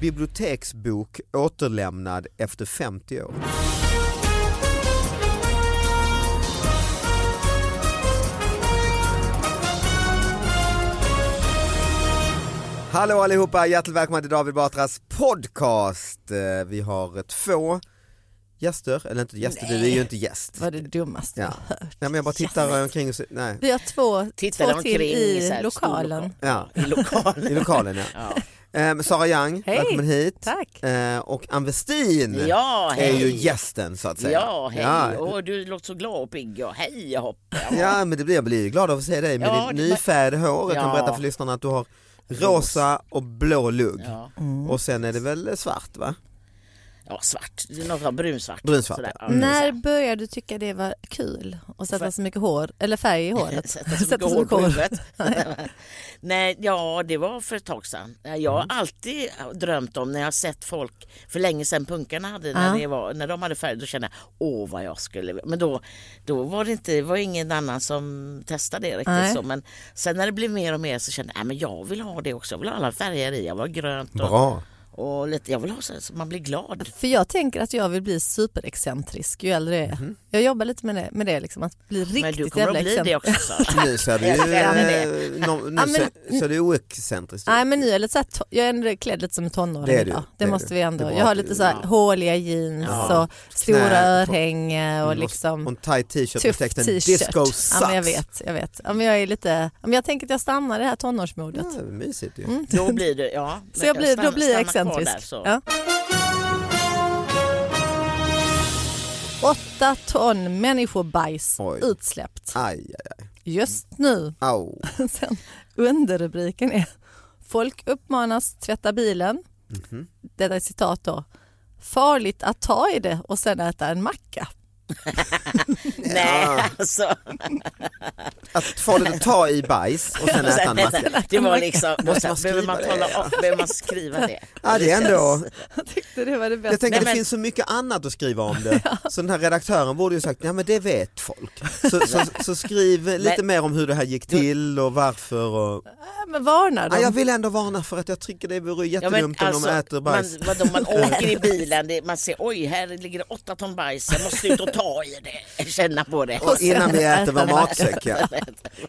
Biblioteksbok återlämnad efter 50 år. Hallå allihopa, hjärtligt välkomna till David Batras podcast. Eh, Vi har två gäster, eller inte gäster, du är ju inte gäst. var det dummaste Ja. jag hört. Nej men jag bara tittar omkring och ser, nej. Vi har två, Tittar två till omkring i så i här lokalen. Ja, I lokalen. i lokalen ja. Ehm, Sara Young, Hej. välkommen hit. Tack. Eh, och Ann Westin Ja, är hej. ju gästen så att säga. Ja, hej. Ja. Åh, du låter så glad och pigg. Ja, hej Hoppe. Ja men det blir, jag blir ju glad av att se dig med Ja, ditt det- nyfärgade hår. Jag kan Ja. berätta för lyssnarna att du har rosa och blå lugg. Ja. Och sen är det väl svart va? ja, svart. Det är Något sånt brunsvart. Brunsvart, Mm. Sådär. Ja, När började du tycka det var kul att sätta så mycket hår, eller färg i håret? Sätta så mycket hår på huvudet. Nej, ja det var för ett tag sedan. Jag Mm. har alltid drömt om när jag har sett folk för länge sedan punkarna hade när, Ja. det var, när de hade färg då kände jag åh vad jag skulle vilja." men då, då var det inte var ingen annan som testade det riktigt Nej. så men sen när det blev mer och mer så kände jag "Nej, men jag vill ha det också jag vill ha alla färger i jag vill ha grönt och, Bra. och lite, jag vill ha så så man blir glad. För jag tänker att jag vill bli superexcentrisk ju äldre jag är. Jag jobbar lite med det, med det liksom, att bli riktigt Mhm. men du kommer jävla att bli det excentrisk. också. Så. Nu ser du ju Jag känner det. eh, no, nu Ja, men- ser, ser du oexcentriskt ut. Nej men nu är jag lite så här, to- jag är ändå klädd lite som en tonåring typ. Det är du, idag. det Det, är måste du. vi Det ändå. är bra Jag har att du- lite så här ja. håliga jeans Ja. och stora Knä på- örhängen och Mm, liksom Och en tight t-shirt med tuff texten t-shirt. disco Ja, men jag sucks. vet, jag vet. Ja, men jag är lite, ja, men jag tänker att jag stannar i det här tonårsmodet. Ja, mysigt ju. Då blir du, ja. Så jag blir, då stanna- blir jag stanna kvar där, excentrisk. så. Ja. Åtta ton människobajs Oj. utsläppt Aj, aj, aj. just nu. Au. Sen, underrubriken är Folk uppmanas tvätta bilen. Mhm. Detta är citat då. Farligt att ta i det och sen äta en macka. Nej, alltså. Att få det att ta i bajs och sen äta en macka. Det var liksom, Måste man behöver man skriva tala det? om, behöver man skriva det? Ja, det är ändå, Jag tyckte det var det jag bästa. tänker Nej, det men- finns så mycket annat att skriva om det. Så den här redaktören borde ju sagt, ja men det vet folk. Så, så, så skriv lite Men- mer om hur det här gick till och varför. Och... Men varnar Ja, dem. jag vill ändå varna för att jag tycker det vore jättedumt om de äter alltså, man, bajs. vadå, man åker i bilen, det, man ser oj här ligger det åtta ton bajs, jag måste ut och ta i det, känna på det. Och sen Innan vi äter äta vår en macka. matsäck. Ja.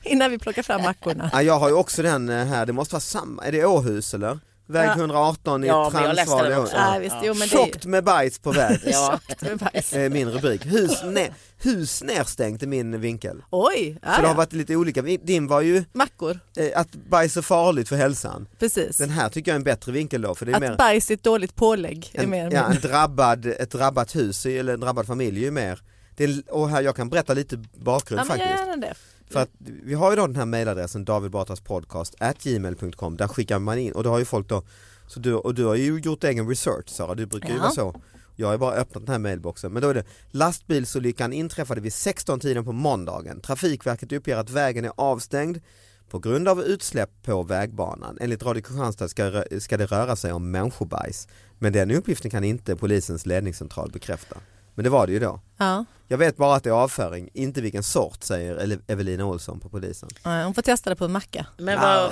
Innan vi plockar fram mackorna. Ja, jag har ju också den eh, här, det måste vara samma, är det Åhus eller? Väg Ja. 118 i Ja, men jag läste Transvaal. i den Åhus. också. Ja, Ja. visst, jo, men det är ju- Tjockt med bajs på väg. Ja. Tjockt med bajs. Eh, Min rubrik. Hus, ne- hus nerstängt i min vinkel. Oj, ja, Så det har ja. varit lite olika. Din var ju mackor. eh, att bajs är farligt för hälsan. Precis. Den här tycker jag är en bättre vinkel då. För det är mer Att bajs är ett dåligt pålägg. Är en, mer ja, en drabbad, ett drabbat hus eller en drabbad familj är ju mer. Det är, och här, jag kan berätta lite bakgrund ja, men faktiskt. jag gärna det. För att vi har ju då den här mejladressen davidbatraspodcast.gmail.com där skickar man in och då har ju folk då, så du, och du har ju gjort egen research Sara, du brukar ju Ja. vara så. Jag har ju bara öppnat den här mailboxen. Men då är det lastbilsolyckan inträffade vid 16-tiden på måndagen. Trafikverket uppger att vägen är avstängd på grund av utsläpp på vägbanan. Enligt Radio Kristianstad ska, rö- ska det röra sig om människobajs. Men den uppgiften kan inte polisens ledningscentral bekräfta. Men det var det ju då. Ja. Jag vet bara att det är avföring, inte vilken sort säger Ele- Evelina Olsson på polisen. Nej, Hon får testa det på en macka. Men vad,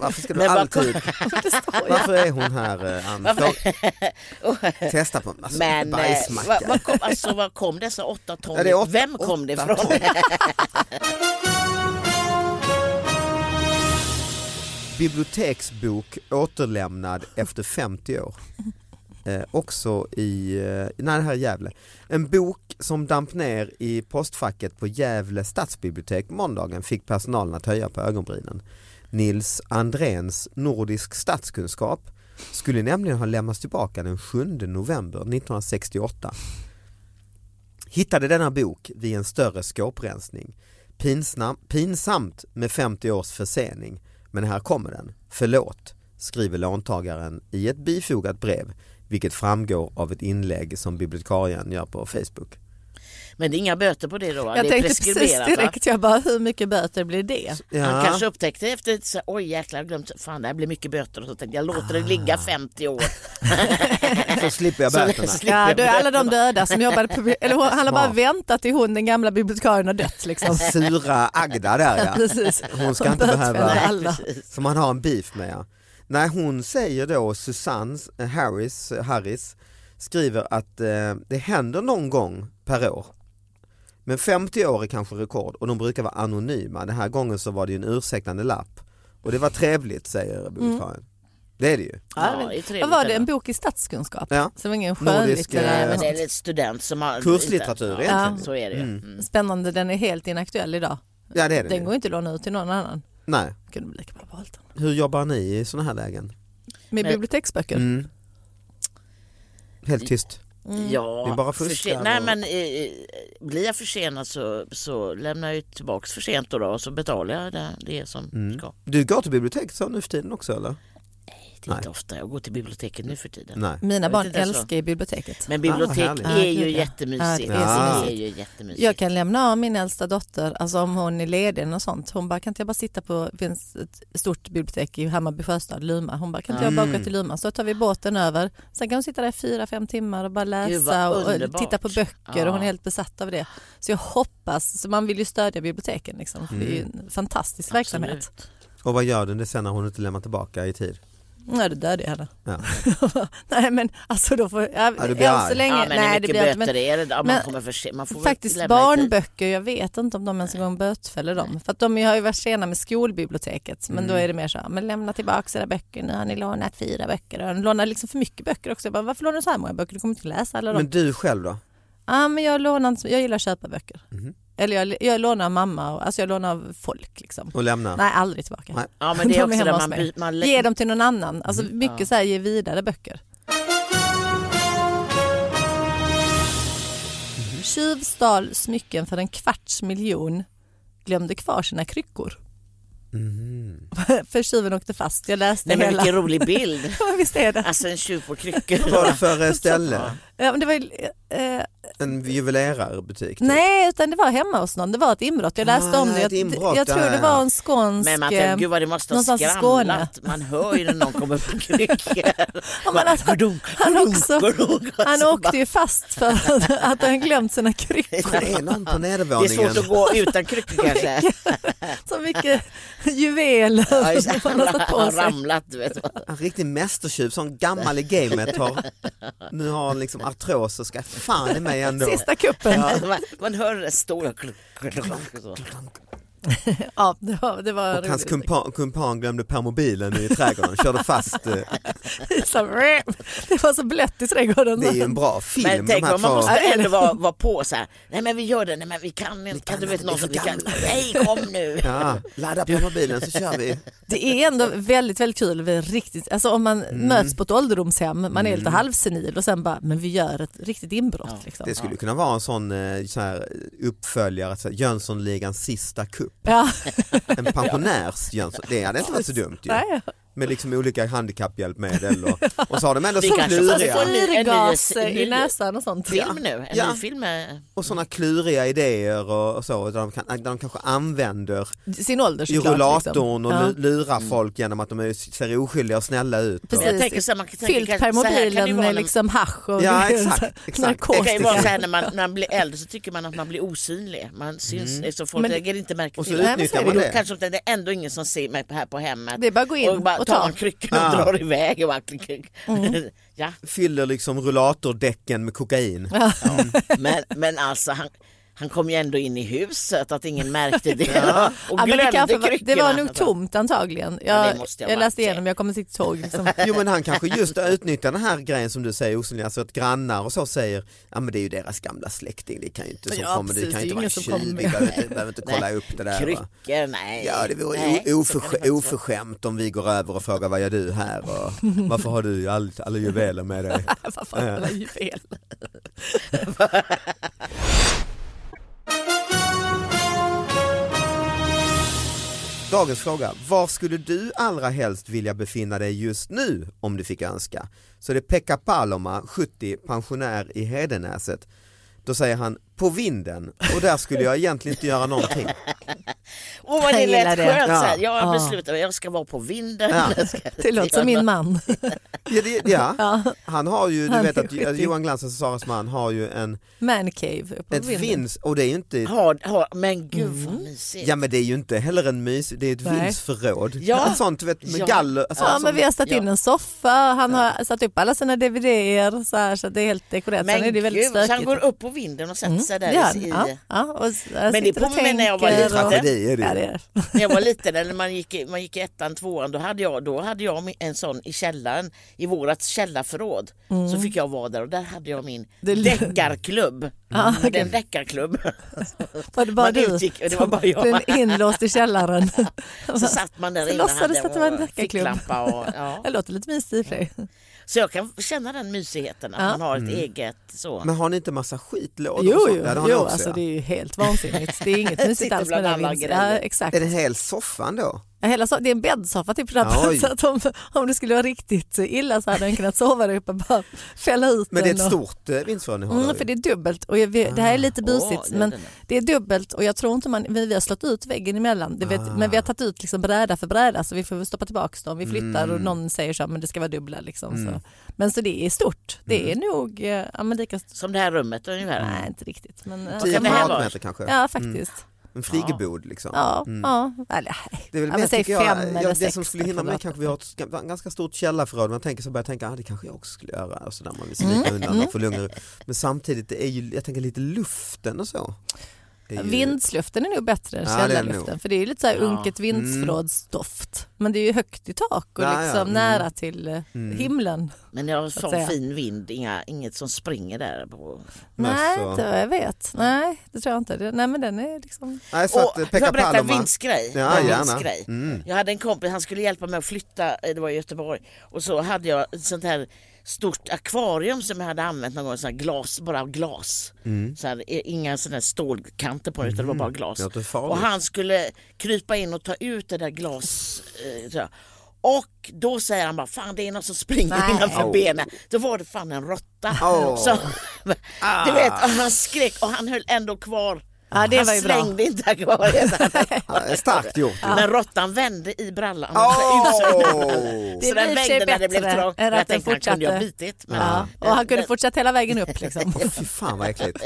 Varför ska du Men vad- alltid, Det står ju. varför är hon här eh, Ann? För- Testa på Oh. alltså, men, eh, bajsmacka. vad, vad, kom, alltså, vad kom dessa åtta ton? Ja, det är åt- Vem kom det åtta ifrån? ton. Biblioteksbok återlämnad efter 50 år. Eh, också i, eh, nej det här är Gävle. En bok som damp ner i postfacket på Gävle stadsbibliotek måndagen fick personalen att höja på ögonbrynen. Nils Andréns Nordisk statskunskap skulle nämligen ha lämnats tillbaka den 7 november 1968. Hittade denna bok vid en större skåprensning. Pinsam, pinsamt med 50 års försening. Men här kommer den. Förlåt, skriver låntagaren i ett bifogat brev vilket framgår av ett inlägg som bibliotekarien gör på Facebook. Men det är inga böter på det då? va? Jag det är tänkte precis preskriberat va? direkt, jag bara hur mycket böter blir det? Han kanske upptäckte efter ett så här, oj jäklar jag har glömt, fan det här blir mycket böter och så tänkte jag låter det ligga 50 år. så slipper jag Så böterna. slipper Ja, jag då är alla de böterna. döda som jobbade på... Eller hon, han har bara Smart. väntat till hon, den gamla bibliotekarien, har dött liksom. Sura Agda där ja. Precis. Hon ska inte bötfäller behöva- alla. Som han har en beef med ja. Nej hon säger då Susanne eh, Harris, Harris skriver att eh, det händer någon gång per år. Men 50 år är kanske rekord och de brukar vara anonyma. Den här gången så var det ju en ursäktande lapp. Och det var trevligt Mm. säger bibliotekarien. Det är det ju. Ja, det är trevligt Vad var det, ändå. en bok i statskunskap? Ja. eh, Som ingen Nordisk, Nej, men skönlitterär. det är ett student som har... Kurslitteratur ja, egentligen. Så är det ju. Mm. Spännande, den är helt inaktuell idag. Ja det är det. Den ju. går inte att låna ut till någon annan. Nej. Kunde vi lika bra valt den. Hur jobbar ni i sådana här lägen? Med Men- biblioteksböcker. Mm. Helt tyst. Mm. Ja, Det är bara förse- fuskar Nej, och- men, eh, eh, blir jag försenad så, så lämnar jag ju tillbaka för sent då, då och så betalar jag det, det som ska. Du går till biblioteket så nu för tiden också eller? Det är inte ofta jag går till biblioteket nu för tiden. Nej. Mina Jag barn vet inte ens älskar ju biblioteket. Men Ah, bibliotek vad härligt. är Ja, ju gud, ja. jättemysigt. Ja, det är Det är mysigt. ju jättemysigt. Jag kan lämna av min äldsta dotter, alltså om hon är ledig och sånt. Hon bara, kan inte jag bara sitta på, det finns ett stort bibliotek i Hammarby sjöstad, Luma. Hon bara, kan inte jag Mm. bara gå till Luma? Så tar vi båten över. Sen kan hon sitta där i fyra, fem timmar och bara Gud, vad läsa och, och underbart. titta på böcker Ja. och hon är helt besatt av det. Så jag hoppas, så man vill ju stödja biblioteken liksom. för Det är ju en fantastisk verksamhet. Mm. Absolut. Och vad gör den det sen när hon inte lämnar tillbaka i tid? Nej, du dödade jag henne. Ja. nej men alltså då får jag, Ja, du blir än så arg. länge, Ja, men nej hur det mycket blir jag inte. böter Men, är det? Ja, man men kommer för sent. Man får väl Faktiskt lämna i tid. barnböcker, jag vet inte om de ens en gång bötfäller dem. För att de har ju varit sena med skolbiblioteket. Men då Mm. är det mer så här, men lämna tillbaka era böcker, nu har ni lånat fyra böcker. Och de lånar liksom för mycket böcker också. Jag bara, varför lånar du så här många böcker? Du kommer inte läsa alla dem. Men du själv då? ah, men jag, lånar, inte så- jag gillar att köpa böcker. Mhm. Eller jag, jag lånar av mamma, och, alltså jag lånar av folk liksom. Och lämna? Nej, aldrig tillbaka. Nej. Ja, men det De är är också hemma där hos man, mig. by- man lä- Mm. Ge dem till någon annan. Alltså mycket så här, ge vidare böcker. Mm. Tjuv stal smycken för en kvarts miljon, glömde kvar sina kryckor. för tjuven åkte fast, jag läste Mm. Nej, men hela. vilken rolig bild. Visst är det? Alltså en tjuv på kryckor. Vad var det för eh, ställe? Ja, men det var, ju, eh, En juvelerarbutik? typ? nej, utan det var hemma hos någon. Det var ett inbrott. Jag läste Ah, om det. ett Jag, inbrott, jag tror ja, det ja, var ja. en skånsk... Men man tänker, eh, gud vad det måste ha någonstans i Skåne. skramlat. Man hör ju när någon kommer på kryckor. Ja, men att- Gudung, han, gudung, också, gudung. han Alltså, åkte ju fast för att han glömt sina kryckor. Det är någon på Det är nedervåningen. svårt att gå utan kryckor kanske. Så mycket juveler Ja, just det. som han har satt på Har sig. ramlat, du vet. En riktig mästertjuv, sån gammal i gamet. Har, nu har han liksom artros och ska fan i mig ändå. Sista kuppen. Ja, Man- Man hör det stora klunk, klunk, klunk, så. det var, det var Och hans roligt. kumpan, kumpan glömde permobilen i trädgården, körde fast. eh, Så, Det var så blött i trädgården. Det är ju en bra film. Men tänk de här om man två. måste Ja, eller- ändå vara, vara på så här. Nej men vi gör det, nej men vi kan inte. Kan du vet inte, någon som vi vi är kan? för Nej kom nu. Ja, ladda permobilen så kör vi. Det är ändå väldigt, väldigt kul. Vi är Riktigt, alltså om man Mm. möts på ett ålderdomshem, man är lite halvsenil och sen bara, men vi gör ett riktigt inbrott. liksom. Det skulle ju kunna vara en sån eh, så här uppföljare, så här, Jönssonligans sista kupp. ja. En pensionärs Jönsson. Det hade inte varit så dumt ju. Nej. med liksom olika handikapphjälpmedel och, och så har de ändå Vi så kanske kluriga får en ny- en ny- Syrgas en ny- i näsan och sånt. Film nu, en Ja. ny film med och sådana kluriga idéer och, och så där de, kan, där de kanske använder Sin ålder i såklart. liksom. rullatorn och Ja. lu- lurar Mm. folk genom att de är, ser oskyldiga och snälla ut. Och, Jag tänker så här, man kan tänka Fyllt kanske- så här kan det permobilen vara med när- liksom hasch och liksom. Ja, exakt, exakt. Det kan ju vara så narkotika. här när man, när man blir äldre så tycker man att man blir osynlig. Man syns, så folk Mm. Men- lägger inte märke och så till det. utnyttjar Och man då det. kanske de- det är ändå ingen som ser mig här på hemmet. Det är bara att gå in och, bara och tar ta. Mm. man kryckan och Ah. drar iväg. Och verkligen- ja. Fyller liksom rullatordäcken med kokain. men, men alltså han, han kom ju ändå in i huset att ingen märkte det. Och Ja, men glömde det, kanske var, det kryckorna. Alltså. var nog tomt antagligen. Ja, Jag, det måste jag jag, bara läste säga. igenom, jag kommer inte ihåg. Liksom. Jo men han kanske just utnyttjar den här grejen som du säger osynliga, alltså att grannar och så säger ja men det är ju deras gamla släkting, det kan ju inte som Ja, kommer, det precis, kan ju det inte är vara en ingen som tjuv, kommer. vi behöver inte, behöver inte kolla upp det där. va. Kryckor, nej. Ja det vore Nej, o- så kan det oförskä- faktiskt vara. oförskämt om vi går över och frågar vad gör du här och varför har du all, alla juveler med dig? Vad fan, det var ju fel. Dagens fråga, var skulle du allra helst vilja befinna dig just nu om du fick önska? Så det är Pekka Paloma, 70, pensionär i Hedenäset. Då säger han på vinden och där skulle jag egentligen inte göra någonting. Åh vad det Jag lät gillar det. skönt. Ja. Ja. Jag Ja. beslutar mig, jag ska vara på vinden. Ja. Jag ska- Det låter som min man. Ja, det, ja. han har ju, du Han vet är att skitig. Johan Glans, alltså Saras man, har ju en, Man cave på ett vinden. vins, och det är ju inte, Ha, ha, men gud Mm. vad mysigt. ja men det är ju inte heller en mys, det är ett Nej. vindsförråd. Ja. Ett sånt du vet med Ja. galler, alltså, Ja, som- men vi har satt ja. in en soffa, han har satt upp alla sina dvd-er så, här, så att det är helt dekorerat. Men Sen är det väldigt gud, så han stökigt. Mm, går upp på vinden och sätter sig där Det gör i, i, han. ja, ja, och s- jag Men det sitter och påminner när jag var tänker liten. och- Tragedi är det ju. Ja, det är. när jag var liten eller man gick, i- man gick i ettan, tvåan då hade jag, då hade jag min- en sån i källaren i vårat källarförråd. Så fick jag vara där och där hade jag min Mm. Det är- deckarklubb. Ah, En deckarklubb. Var det bara Man du utgick och det var som bara jag. blev inlåst i källaren? Så satt man där Så inne och låtsades att det var en och deckarklubb. ficklampa och- ja. Det låter lite mysigt i och för sig. Så jag kan känna den mysigheten att man har ett eget så. men har ni inte massa skitlådor? Jo, och sånt? jo, Ja, det har ni jo också, alltså, ja. det är ju helt vansinnigt. Det är inget mysigt Sitter alls med bland den alla vinsten. grejer. Ja, exakt. Är det en hel soffan då? Ja, Hela so- det är en bäddsoffa typ där. Oj. Så att om, om det skulle vara riktigt illa så hade han kunnat sova där uppe och bara fälla ut Men det är den. ett och- stort Ah. eh, vindsförråd ni har där Mm, ju. för det är dubbelt och jag vet, det här är lite busigt det är men det nu. det är dubbelt och jag tror inte man, vi, vi har slått ut väggen emellan det vet, men Ah. vi har tagit ut liksom bräda för bräda så vi får väl stoppa tillbaka dem. Vi flyttar Mm. och någon säger så här, men det ska vara dubbla liksom. Så. Men så det är stort, det är Mm. nog eh, ja, men lika stort. Som det här rummet ungefär. Nej inte riktigt men eh, 10 kan det här vara? kvadratmeter kanske? Mm. ja faktiskt. En friggebod liksom? Ja, ja. Eller, nej. Det är väl ja, mer, men säg tycker fem jag, eller ja, sex. Det som skulle hinna mig kvadrat. kanske vi har ett ska- ganska stort källarförråd. Man tänker så börjar jag tänka, ah, det kanske jag också skulle göra. Och så där man vill slita Mm. undan och få lugn och ro. Men samtidigt, det är ju, jag tänker lite luften och så. Det är ju- Vindsluften är nog bättre än Ja, det är det källarluften nog. Mm. för det är ju lite så här unket vindsförrådsdoft. Men det är ju högt i tak och Ja, ja, liksom mm. nära till eh, himlen. Men jag har att säga. sån fin vind, inga, inget som springer där. På. Men alltså- Nej, så- inte vad jag vet. Nej, det tror jag inte. Det- Nej, men den är liksom... Nej, så att, eh, Åh, får Pekka jag berätta en Paloma, vindsgrej? Ja, en gärna. vindsgrej. Mm. Jag hade en kompis, han skulle hjälpa mig att flytta, eh, det var i Göteborg. Och så hade jag ett sånt här stort akvarium som jag hade använt någon gång, sån här glas, bara av glas. Mm. Så här, eh, inga sådana här stålkanter på det utan det var bara glas. Låter farligt. Och han skulle krypa in och ta ut det där glas... Eh, så här. och då säger han bara, fan det är något som springer Nej. innanför Au. benen. Då var det fan en råtta. Åh. Ah. Så, du vet, och han skrek och han höll ändå kvar Ja, det han var ju bra. slängde inte akvariet. ja, Eh, starkt gjort. Men råttan vände i brallan. Åh! Det Så är i den och för sig vägde när det blev bättre trångt. än att Jag den tänkte han kunde ju ha fortsatte. bitit. Men, Ja. Och han kunde men- fortsätta hela vägen upp liksom. Fy fan vad äckligt.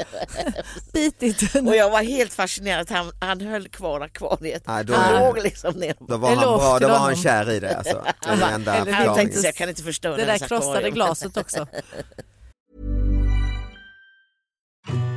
Bitit. och jag var helt fascinerad att han, han höll kvar akvariet. Nej, då är han det- låg liksom ner. Då var han, Eloge bra, då till var han honom. kär i det alltså. Det är det enda Eller Han förklaringen. tänkte så jag kan inte förstöra Det där hennes krossade akvarium. glaset också.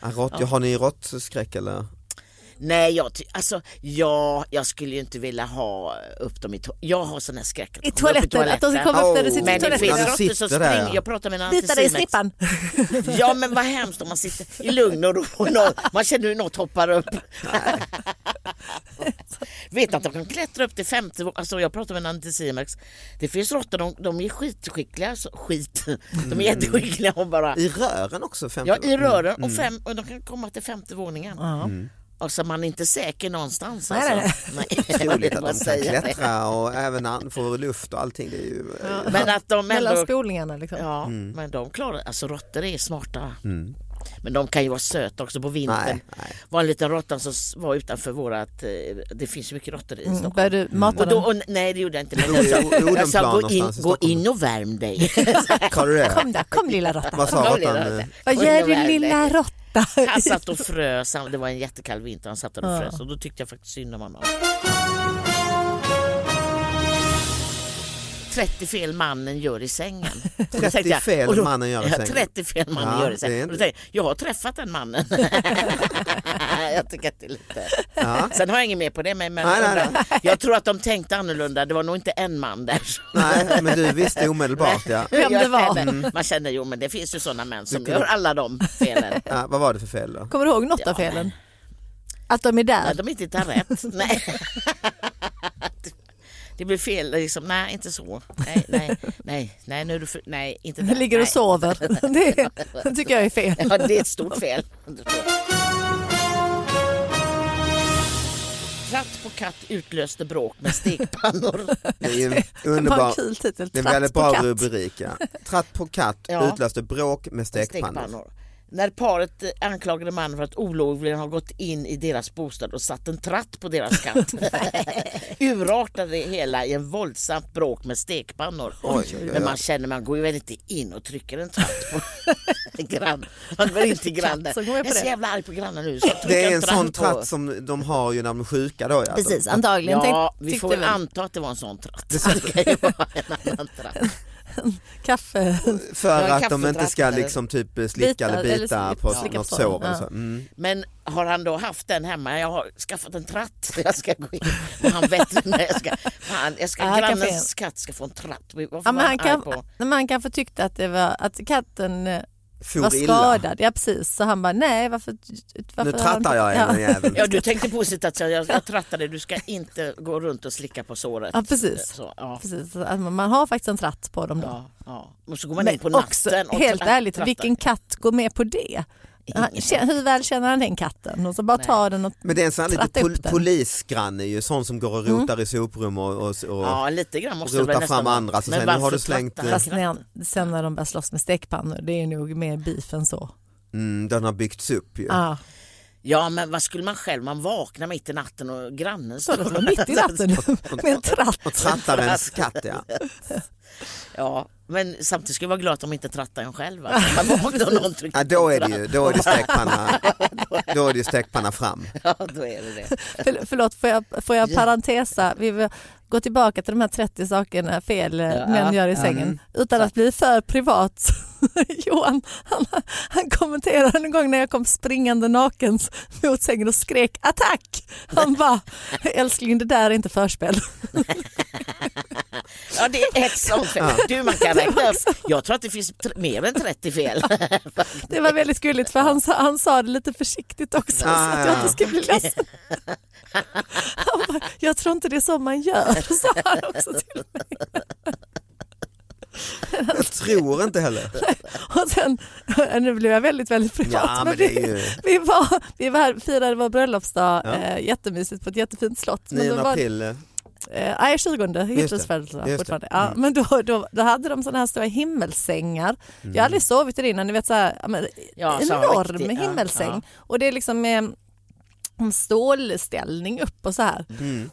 Ah, rått, ja. Har ni råttskräck eller? Nej, jag, ty- alltså, ja, jag skulle ju inte vilja ha upp dem i to- Jag har sån här skräck. att I komma upp toaletten, att de ska komma upp när du Oh. sitter i Men det toaletten. finns Ja, du råttor som sitter där, springer. ja. Jag pratar med en Bita dig i antisimex. snippan. Ja men vad hemskt om man sitter i lugn och ro och någon, man känner hur något hoppar upp. Vet att de kan klättra upp till femte vå- alltså jag pratar med en antisimax. Det finns råttor, de, de är skitskickliga. Alltså, skit. Mm. De är jätteskickliga och bara... I rören också? Femte Ja, i rören Mm. och, fem, och de kan komma till femte våningen. Alltså man är inte säker någonstans. Nej, Alltså. nej, Nej. Otroligt Vad att de kan säger jag? klättra och även an- få luft och allting. Det är ju, Men att de Mellan ändå spolningarna liksom. Ja, Mm. men de klarar Alltså råttor är smarta. Men de kan ju vara söta också på vintern. Nej, nej. var en liten råtta som s- var utanför vårat, eh, det finns ju mycket råttor i Mm, Stockholm. Började du mata Och då, dem? och, nej det gjorde jag inte. Men Jo, jag sa, jo, jo, jag den plan sa gå, in, någonstans i gå Stockholm." in och värm dig. Har du det? Kom där, kom lilla råtta. Vad sa Kom, lilla råttan? råtta. eh, Vad Gå in gör och du värm dig. lilla råtta? Han satt och frös, han- det var en jättekall vinter, han satt där och frös och då tyckte jag faktiskt synd om honom. 30 fel mannen gör i sängen. Och då 30 tänkte jag- fel och då- mannen gör i Ja, sängen. 30 fel mannen Ja, gör i det är sängen. Och inte- då tänkte jag, jag har träffat den mannen. jag tycker att det är lite... Ja. Sen har jag inget mer på det men, men Nej, nej, undrar- jag tror att de tänkte annorlunda. Det var nog inte en man där. Nej, men du visste omedelbart ja. Vem det Jag var. Mm. känner- Man känner jo men det finns ju sådana män som Du gör kunde- alla de felen. ja. Vad var det för fel då? Kommer du ihåg något av felen? Att de Ja, är där? de inte hittar rätt. nej. Det blir fel, liksom. nej inte så. Nej, nej, nej, nej, nu är du för... nej inte De där. ligger och nej. sover. Det, det tycker jag är fel. Ja, det är ett stort fel. Tratt på katt utlöste bråk med stekpannor. Det är ju en Vad en underbar, kul titel. det är en Tratt väldigt på bra katt. rubrik ja. Tratt på katt Ja. utlöste bråk med stekpannor. stekpannor. När paret eh, anklagade mannen för att olovligen ha gått in i deras bostad och satt en tratt på deras katt urartade det hela i en våldsamt bråk med stekpannor. Oj, oj, oj. Men man känner man går ju väl inte in och trycker en tratt på grannen. Man går inte till grannen. Katt, så går Jag jag på är så det. jävla arg på grannen nu så jag Det trycker är en sån på. tratt som de har ju när de är sjuka då. Ja. Precis, antagligen. Ja, Tänk- vi tyckte får väl väl. anta att det var en sån tratt. Det kan ju vara en annan tratt. Kaffe. För Ja, en att de inte ska kaffetratt liksom typ slicka eller Bita, bita eller sli- på slicka på något såren, sår. Eller ja. så. Mm. Men har han då haft den hemma? Jag har skaffat en tratt. Jag ska gå in. Och han veterinär. Jag ska, fan, jag ska, Ja, han kan grannens katt ska få en tratt. Varför Ja, var men han han, kan, arg på? nej, men han kanske tyckte att, det var, att katten eh, For var illa. skadad. Ja precis, så han bara nej varför... varför Nu har han- trattar jag henne ja. jäveln. Ja, du tänkte positivt att jag, jag trattade. Du ska inte gå runt och slicka på såret. Eh, Ja, precis. Så, ja. precis. Att man- Man har faktiskt en tratt på dem då. Ja, ja. Och så går man Men in på också, natten. och helt tra- ärligt, trattar. vilken katt går med på det? Han, kä- hur väl känner han den katten? Och så bara tar den och... Men det är en sån här lite Tratta upp pol- den. Mm. polisgranne ju, sån som går och rotar i soprum och, och, och Ja, lite grann måste Rota det väl nästan fram vara. andra, så Men säger, nu har varför du slängt, trattar eh, han Fast när, sen när de börjar slåss med stekpannor, det är nog mer beef än så. mm, den har byggts upp ju. Ah. Ja. Ja, men vad skulle man själv? Man vaknar mitt i natten och grannen Så de slår mitt i natten med en tratt. Och trattar ens katt ja. Ja, men samtidigt ska jag vara glad att de inte trattar en själv. va? Man vaknar och någon trycker ja då på är det tratt. ju då är det stekpanna, då är det ju stekpanna fram. Ja, då är det det. För, förlåt, får jag, får jag parentesa? Vi vill gå tillbaka till de här 30 sakerna fel eh, Ja, Mm. män gör i sängen. Utan att bli för privat. Johan, han, han kommenterade en gång när jag kom springande naken mot sängen och skrek attack. Han bara, älskling det där är inte förspel. Ja, det är ett sånt fel. Du, man kan räkna upp. Jag tror att det finns tr- mer än 30 fel. Det var väldigt gulligt för han, sa- han sa det lite försiktigt också Ah, så ja. att jag inte ska bli ledsen. Han bara, jag tror inte det är så man gör, sa han också till mig. Jag tror inte heller. Och sen, nu blev jag väldigt, väldigt privat. Ja men det är ju vi, var, vi var här, firade vår bröllopsdag eh, jättemysigt på ett jättefint slott. Men 9 då var, april. eh, Eh, nej, 20 Hitlers födelsedag fortfarande. Ja, Mm. Men då, då, då hade de sådana här stora himmelsängar. Jag Mm. har aldrig sovit i det innan, ni vet så här, ja, men, Ja, en så enorm riktig, ja, himmelsäng. ja. Och det är liksom eh, en stålställning upp och så här.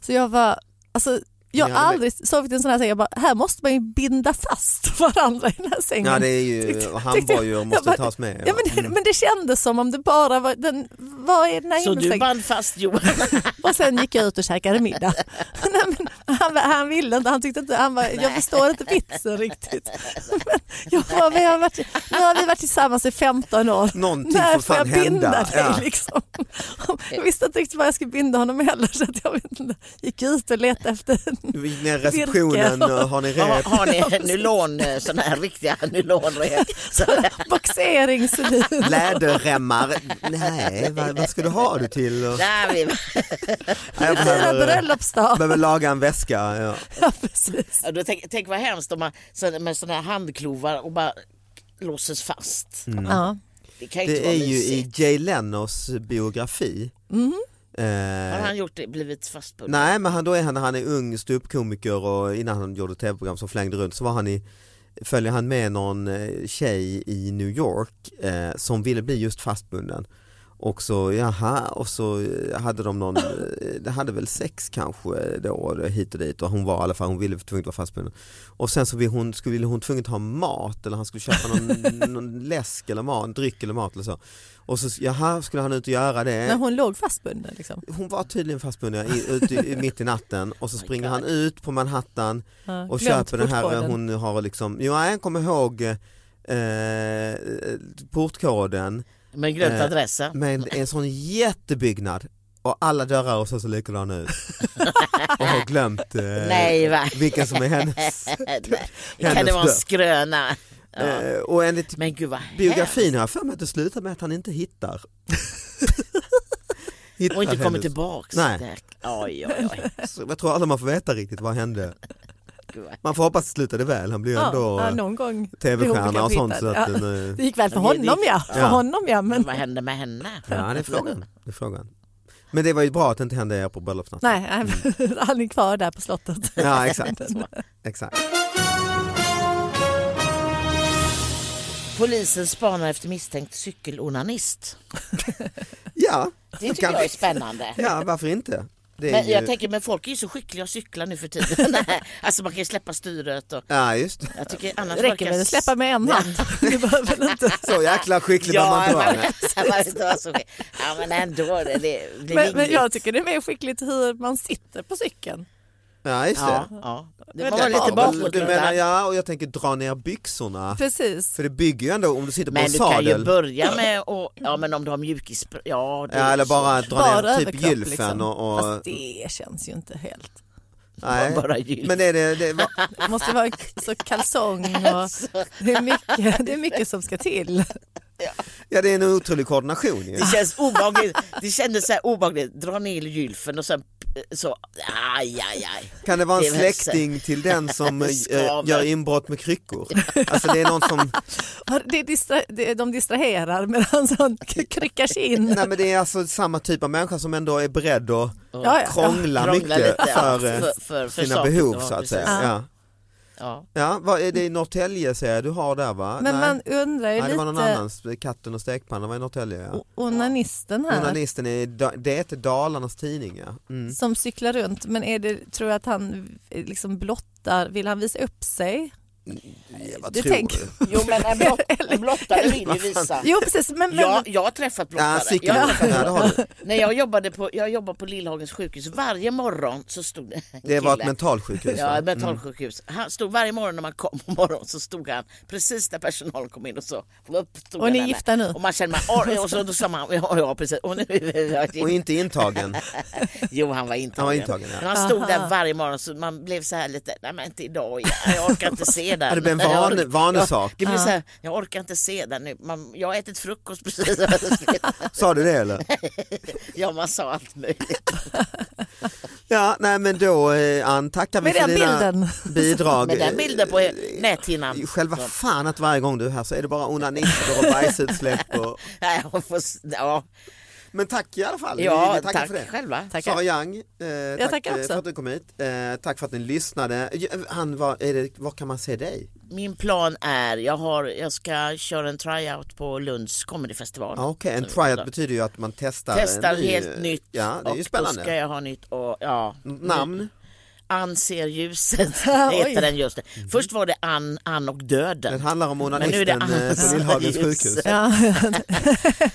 Så jag var, alltså jag Mm. Ni har hade väl- aldrig sovit i en sån här säng, jag bara, här måste man ju binda fast varandra i den här sängen. Ja det är ju, handbojor måste jag bara- tas med. Mm. Ja, men, det, men det kändes som om det bara var, den, vad är den här Så du himmelsängen? band fast Johan? Och sen gick jag ut och käkade middag. Nej, men han, han ville inte, han tyckte inte, han bara, jag förstår inte vitsen riktigt. Men jag bara, vi har varit, nu har vi varit tillsammans i 15 år. Någonting När får får jag fan hända. binda dig Ja. liksom? Jag visste inte riktigt vad jag skulle binda honom heller så att jag vet inte. gick ut och letade efter en Du gick ner i receptionen och Virke. har ni Har, rep? har ni nylon, eh, såna här riktiga nylonrep? Så- boxeringsdyn. Läderremmar? Nej, vad, vad ska du ha det till? Och- Nej, vi, Jag Fyra behöver, bröllopsdagar. behöver laga en väska. Ja. Ja, precis. Ja, då tänk, tänk vad hemskt om man så- med såna här handklovar och bara låses fast. Ja. Det kan ju inte Mm. Det vara är ju mysigt. i Jay Lennos biografi. Har Eh, han gjort det? Blivit fastbunden? nej men han, då är han när han är ung ståuppkomiker och innan han gjorde tv-program som flängde runt så var han i, följer han med någon eh, tjej i New York eh, som ville bli just fastbunden. Och så jaha och så eh, hade de någon, eh, de hade väl sex kanske då hit och dit och hon var i alla fall, hon ville tvunget vara fastbunden. Och sen så ville hon, skulle, ville hon tvunget ha mat eller han skulle köpa någon, någon läsk eller mat, en dryck eller mat eller så. Och så jaha skulle han ut och göra det När hon låg fastbunden liksom. hon var tydligen fastbunden i, ute i, mitt i natten och så springer Oh God. han ut på Manhattan Ja, och glömt köper den här, eh, portkoden. hon har liksom, jo nej, han kommer ihåg eh, portkoden Men glömt Eh, adressen? med en sån jättebyggnad och alla dörrar och så ser likadana ut och har glömt eh, Nej va? vilken som är hennes. Kan det vara en dörr. skröna? Ja. Eh, och enligt Men gud vad biografin har jag för mig att det slutar med att han inte hittar. hemskt. Och inte hittar kommer hennes- tillbaks. Nej. Där. Oj, oj, oj. Så jag tror aldrig man får veta riktigt vad hände. Gud, vad- Man får hoppas att det slutade väl, han blir ju ändå Ja, eh, någon gång. Behovet tv-stjärna kan och sånt. Så hitta. att, Ja. den, eh, Det gick Mm. väl för Men det- det- honom ja. För Ja. honom ja, men Men vad hände med henne? ja, det är, frågan. det är frågan. Men det var ju bra att det inte hände er på bröllopsnatten. nej, nej, han är kvar där på slottet. Mm. Ja, exakt. exakt. Polisen spanar efter misstänkt cykelonanist. Ja, Det tycker Kan- jag är spännande. ja, varför inte? Det är Men ju... jag tänker, men folk är ju så skickliga att cykla nu för tiden. Nej, alltså man kan ju släppa styret och Ja, just det. jag tycker annars Det räcker med att släppa med en hand. Du behöver väl inte. Så jäkla skicklig ja, man Ja, inte var. men, nej. så var det inte var så skick- ja, men ändå, det, det, det Men, men jag ringligt. tycker det är mer skickligt hur man sitter på cykeln. Ja, just det. Ja, ja. Det Men var det- lite Ja, Ja, bakåt. du menar, ja, och jag tänker dra ner byxorna. Precis. För det bygger ju ändå, om du sitter på en Men du kan ju sadel. börja med och, ja men om du har mjukis, ja, det Ja, är eller så. bara att dra Bara ner typ överkropp gylfen liksom. och... och Fast det känns ju inte helt. nej. bara gylf. Men är det, det, Det måste vara så kalsong och det är mycket, det är mycket som ska till. ja, det är en otrolig koordination ju. Det känns obehagligt, det kändes så här obehagligt, dra ner gylfen och sen så, aj aj aj. Kan det vara en Det är väl släkting till den som eh, Skaver. gör inbrott med kryckor? Alltså det är någon som, Ja, Det är distra, det, de distraherar medan han kryckar sig in. nej men det är alltså samma typ av människa som ändå är beredd att Ja, ja. krångla Krångla mycket lite, ja, för, eh, för- för- för sina saker. behov Ja, så att precis. säga. Ja. Ja. Ja. Ja, vad är det i Norrtälje säger jag, du har där va? Men nej. man undrar ju nej, det var någon lite, annans, eh, katten och stekpannan var i Oh, Norrtälje ja. o- onanisten här. Journalisten är, Da- det heter Dalarnas tidning ja. Mm. som cyklar runt. Men är det, tror jag att han eh, liksom blottar, vill han visa upp sig? Vad det tror tänker- du? Jo men en, blott, en blottare vill ju visa. Jo precis, men, men Jag, jag har träffat blottare. Ja, jag cykeln, har ja. träffat det har du. När jag jobbade på, jag jobbade på Lillhagens sjukhus, varje morgon så stod det en Det var ett kille. mentalsjukhus Ja, va? Mm. ett mentalsjukhus. Han stod varje morgon när man kom på morgonen så stod han precis när personalen kom in och så upp stod Och han ni är där. gifta nu? Och man kände man, "Oj", och så då sa man ja, ja precis. Och nu, Och inte intagen. jo han var intagen. Han var intagen, ja. Men han stod där varje morgon så man blev så här lite, nej men inte idag, igen. jag orkar inte se den. Ja, det blev en van- Jag orkar- vanesak. Ja, Det blev så här, jag orkar inte se den nu. Man, jag har ätit frukost precis. Sa du det eller? ja man sa allt möjligt. Ja, nej men då eh, Ann tackar vi Med för den dina bilden. bidrag. Med den bilden på näthinnan. Själva fan att varje gång du är här så är det bara onanister och bajsutsläpp och Nej, jag får, s- ja. Men tack i alla fall. Ja, vi tackar tack för det. själva. Tackar. Sara Young, eh, tack tackar eh, också. för att du kom hit. Eh, tack för att ni lyssnade. Eh, Han var, är det, var kan man se dig? Min plan är, jag, har, jag ska köra en tryout på Lunds comedyfestival. Ah, Okej, Så- en tryout betyder ju att man testar. en Testar ny- helt nytt Ja, det är och ju då ska spännande. jag ha nytt och ja. Namn? Ann ser ljuset heter den just det. Mm. Först var det Ann, Ann och döden. Den handlar om Men nu är det onanisten Ann eh, på ser Lillhagens ljuset. sjukhus. Ja,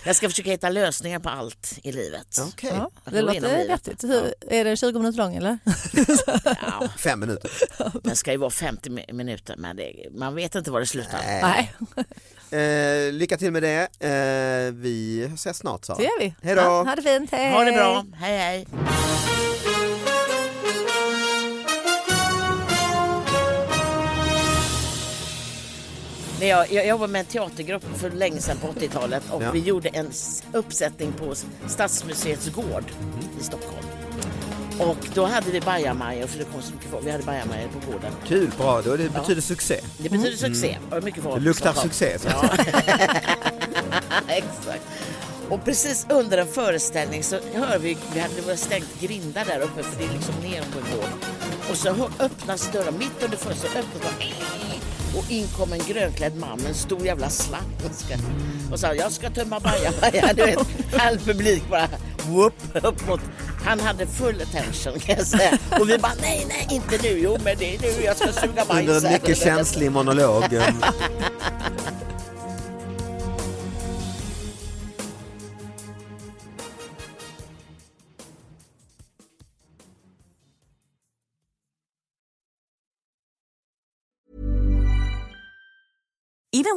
Jag ska försöka hitta lösningar på allt i livet. Okej, ja, Gå det igenom låter livet. vettigt. Hur- Är det 20 minuter lång eller? Ja, fem minuter. den ska ju vara 50 mi- minuter men det, man vet inte var det slutar. Nej. Nej, Eh, lycka till med det. Eh, vi ses snart Sara. det gör vi. Hej då. Ja, ha det fint, hej. Ha det bra, hej hej. När jag, jag jobbade med en teatergrupp för länge sedan på 80-talet och Ja. vi gjorde en s- uppsättning på S- Stadsmuseets gård i Stockholm. Och då hade vi bajamajor för det kom så mycket folk. Vi hade bajamajor på gården. Kul, bra. Då, det betyder succé. Det betyder succé. Och mycket folk Mm. Det i luktar Stockholm. succé. Så. Ja. Exakt. Och precis under en föreställning så hör vi, vi hade det var stängt grindar där uppe för det är liksom ner på en gård. Och så hör- öppnas dörren, mitt under fönstret öppnas dörren. Och in kom en grönklädd man med en stor jävla slang och ska- och sa jag ska tömma bajamaja. Du vet, all publik bara whoop, upp mot. Han hade full attention kan jag säga. Och vi bara nej, nej, inte nu. Jo, men det är nu jag ska suga bajs. Under en här." mycket känslig monolog. eh, Even